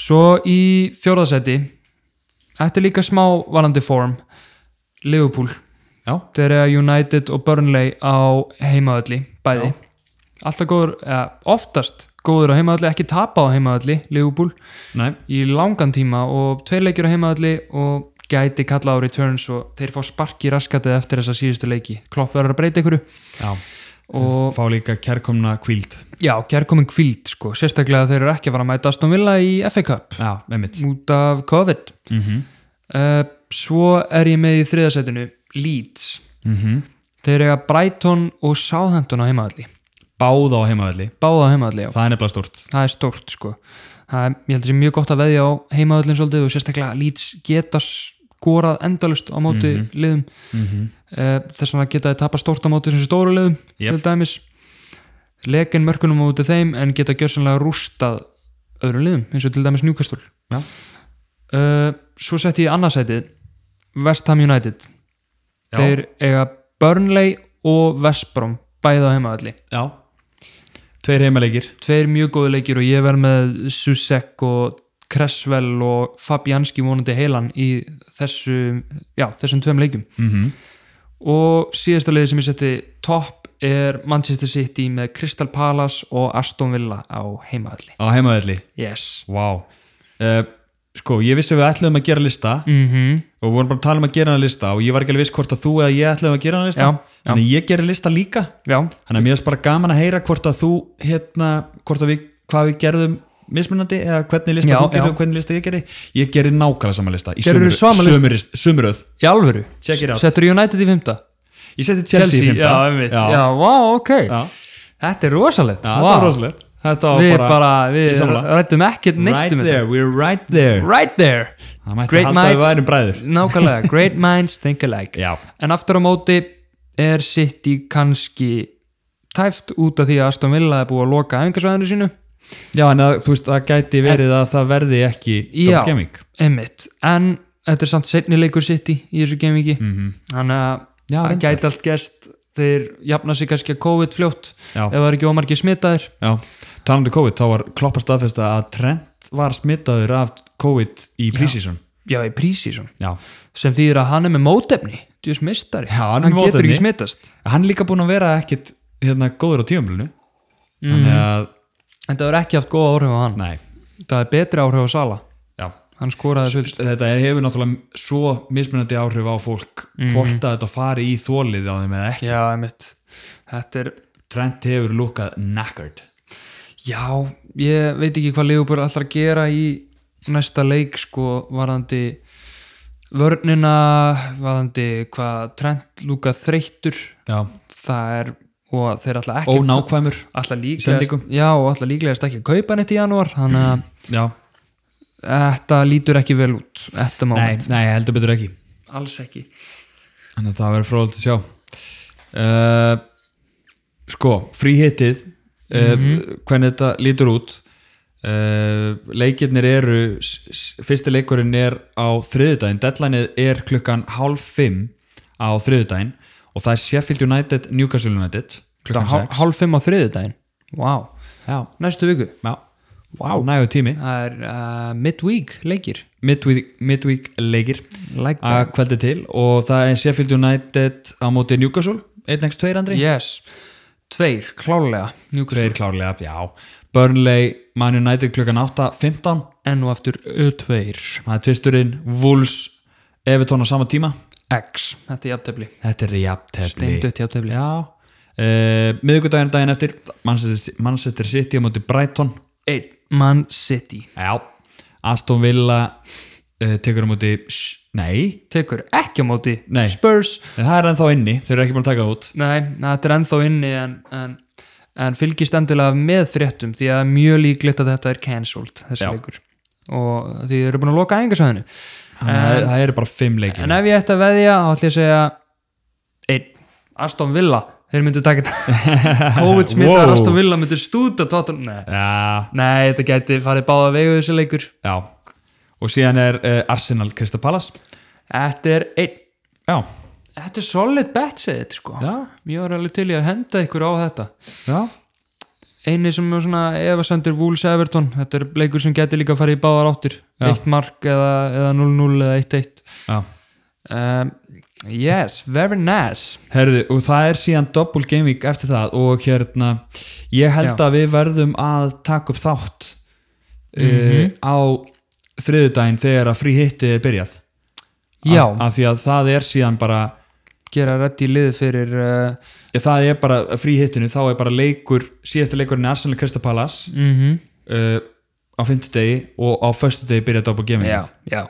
Svo í fjórðasetti Þetta er líka smá valandi form Liverpool
Já.
Þeir eru United og Burnley á heimavalli, bæði Alltaf góður, eða oftast góður á heimavalli, ekki tapað á heimavalli Liverpool,
Nei,
í langan tíma og tveir leikir á heimavalli og gæti kalla á returns og þeir fá sparki raskatið eftir þessa síðustu leiki Klopp verður að breyta ykkur
já,
og
fá líka kærkomna kvíld
já, kærkomin kvíld sko, sérstaklega þeir eru ekki að fara að mæta Aston Villa í FA Cup
Já, einmitt
út af COVID
mm -hmm.
uh, svo er ég með í þriðasætinu Leeds
Mhm.
þeir eiga Brighton og Southampton á heimavalli
Báða á heimavelli,
báða á heimavalli, já,
það er nefnilega stort
það er stórt sko það er, ég held að sé mjög gott að veðja á heimavallin svolítið og sérstaklega Leeds geta skorað endalust á móti liðum
mm
uh, þess vegna geta þeir tapa stórt á móti sem stóru liðum
Jep.
til dæmis lekin mörkunum á móti þeim en geta gjörsanlega rústað öðrum liðum eins og til dæmis Newcastle
Já.
Eh, svo sett ég annarsætið West Ham United
Já.
þeir eiga Burnley og West Brom bæða heimavalli
Já Tveir heimaleikir
tveir mjög góði leikir og ég verð með Susek og Cresswell og Fabianski vonandi heilan í þessu, já, þessum tveim leikum
mm -hmm.
og síðasta leiði sem ég setti topp er Manchester City með Crystal Palace og Aston Villa á heimaðalli
Á heimavelli
yes
Vá uh, Sko, ég vissi að við ætluðum að gera lista
mm
og við vorum bara að tala um að gera hana lista og ég var ekki alveg viss hvort að þú eða ég ætluðum að gera hana lista
Já, já.
Þannig að ég gerir lista líka
já,
Þannig að mér finnst bara gaman að heyra hvort að þú hérna, hvort að við, hvað við gerðum mismunandi eða hvernig lista
Já,
þú gerir
já.
og hvernig lista ég gerir Ég gerir nákvæmlega sama lista í
Gerirðu
sömu-
sama lista?
sömu ris- sömu röð.
í alvöru
Check it out.
settur United í fymta
Ég seti Chelsea, í fimmta.
já, einmitt, já, já wow, ok
Já.
þetta er rosalegt
Já,
Vá.
þetta var rosalegt Þetta var
við
bara,
bara, við
Ég sammála.
rættum ekkert neitt
right
um
there, we're right there
þetta right there
Það mætti
Great
halda að við
minds.
værum bræður
nákvæmlega, great minds think alike
Já,
en aftur á móti er City kannski tæft út af því að Aston Villa er búið að loka æfingarsvæðinu sínu
já en að, þú veist, það gæti verið að það verði ekki
Já.
Double Gaming
Einmitt, en þetta er samt setni leikur City í þessu gemingi þannig að
Mhm. Já,
það
reyndar.
gæti allt gerst þeir jafna sig kannski að COVID fljótt
Já.
ef það er ekki ómargi smitaðir
Já, talandi um COVID, þá var Kloppa staðfesta að Trent var smitaður af COVID í prísísun
já, í prísísum,
Já,
sem þýðir að hann er með mótefni djús mistari,
Já, hann er með
getur
mótefni.
ekki smitast
hann er líka búinn að vera ekkit hérna góður á tíumlunu Þannig að,
en það er ekki haft góða áhrif á hann
nei,
það er betri áhrif á Sala,
já
hann skoraði fullt
Þetta hefur náttúrulega svo mismunandi áhrif á fólk hvort að þetta fari í þólið á þeim eða ekki
já, einmitt, þetta er
Trent hefur lúkað knackered
Já, ég veit ekki hvað Leopold ætlar að gera í næsta leik sko varðandi vörnina, varðandi hvað Trent lúka þreyttur
Já,
það er og þeir ætla ekki
ónákvæmur
ætla
Sendingum.
líklegast, já, og ætla líklegast ekki að kaupa hann eitt í janúar þannig að
Já,
þetta lítur ekki vel út þetta
nei,
moment,
nei, heldur betur ekki
alls ekki
Þannig að það verður fróðult að sjá uh, Sko, fríhittið uh, hvernig þetta lítur út uh, leikirnir eru s- s- fyrsti leikurinn er á þriðudaginn, deadlineið er klukkan hálf fimm á þriðudaginn og það er Sheffield United Newcastle United klukkan
Hál,
sex
hálf fimm á þriðudaginn wow.
Já,
næstu viku,
já Wow. nægu tími,
það er uh, midweek leikir
midweek, midweek leikir
like that.
að kveldi til og það er Sheffield United á móti Newcastle 1x2 andri
yes, tveir, klálega Newcastle
Tveir klárlega, já Burnley, Man United klukkan 8.15
enn og aftur U2
Það er tvisturinn, Wolves Evertón á sama tíma
X, þetta er jafntefli
Þetta er jafntefli
steindött jafntefli
Já uh, Miðvikudaginn daginn eftir Manchester, Manchester City á móti Brighton
1, Man City
Já Aston Villa uh, tekur á móti Sh- Nei,
tekur ekki á móti
Nei.
Spurs,
en það er ennþá inni Þeir eru ekki búin að taka það út
nei, þetta er ennþá inni en, en, en fylgist endilega með fréttum því að mjög líklegt að þetta er cancelled þessi
Já.
leikur og því eru búin að loka engasæðinu
Þannig að það eru bara fimm leikir
en ef ég ætti að veðja, þá ætla ég að segja 1, Aston Villa þeir myndu taka þetta COVID smittar
Wow.
Aston Villa myndu stúta tóttan, nei.
Já,
nei, þetta gæti farið báða vegu þessi leikur
já Og síðan er uh, Arsenal Crystal Palace
Þetta er einn
Já,
Þetta er solid bet segið þetta sko
já,
Ég var alveg til í að henda ykkur á þetta
já
eini sem er svona efasendur Wolves Everton, þetta er leikur sem getur líka að fara í báðar áttir,
Já.
eitt mark eða eða 0-0 eða 1-1
Já.
um, yes, very nice
Herðu, og það er síðan double game week eftir það og hérna ég held
Já.
að við verðum að taka upp þátt
Mhm.
uh, á þriðudaginn þegar að frí hitti er byrjað
já,
af, af því að það er síðan bara
gera rétt í lið fyrir uh,
ja, það er bara frí hittinu, þá er bara leikur síðasta leikurinn er Arsenal Crystal Palace
mm
uh, á fimmtudegi og á föstudegi byrja double game week
já, já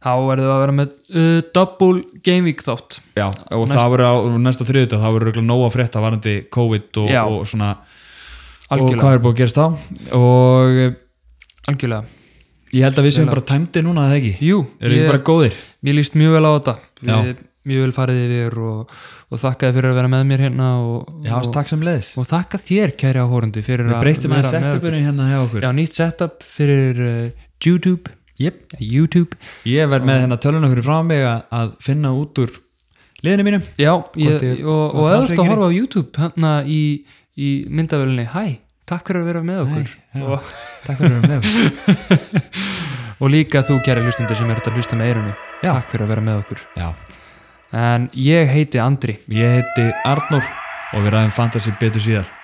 þá verðum við að vera með uh, double game week þátt
Já, og það verður á og næsta þriðudag það verður örugglega nóg að frétta varandi COVID og,
Já.
og svona og
algjörlega,
hvað er búið að gerast þá og eh,
algjörlega.
ég held að við séum
Vel að-
bara tæmdi núna eða ekki
jú,
erum við bara góðir
mér líst mjög vel á þetta
Já.
Ég- mjög vel farið yfir og, og þakkaði fyrir að vera með mér hérna og,
Já,
og,
takk sem leðis
og þakka þér kæri áhórundi fyrir
Við
að
breytum að
vera með okkur.
setupinu hérna hjá okkur
Já, nýtt setup fyrir uh, YouTube Eh,
yep.
YouTube
Ég verð með hérna töluna fyrir frá mig að, að finna út úr liðinu mínum
Já, ég,
Hvort ég-
og,
hvort
og
það
öðvöld að
hringir í-
horfa á YouTube hérna í, í myndavölinni Hæ, takk fyrir að vera með okkur
já.
og,
Takk fyrir að vera með okkur
og líka þú kæri hlustundir sem er að hlusta með eirunni
Já.
Takk fyrir að vera með okkur
Já,
En ég heiti Andri
ég heiti Arnór og við ræðum fantasy betur síðar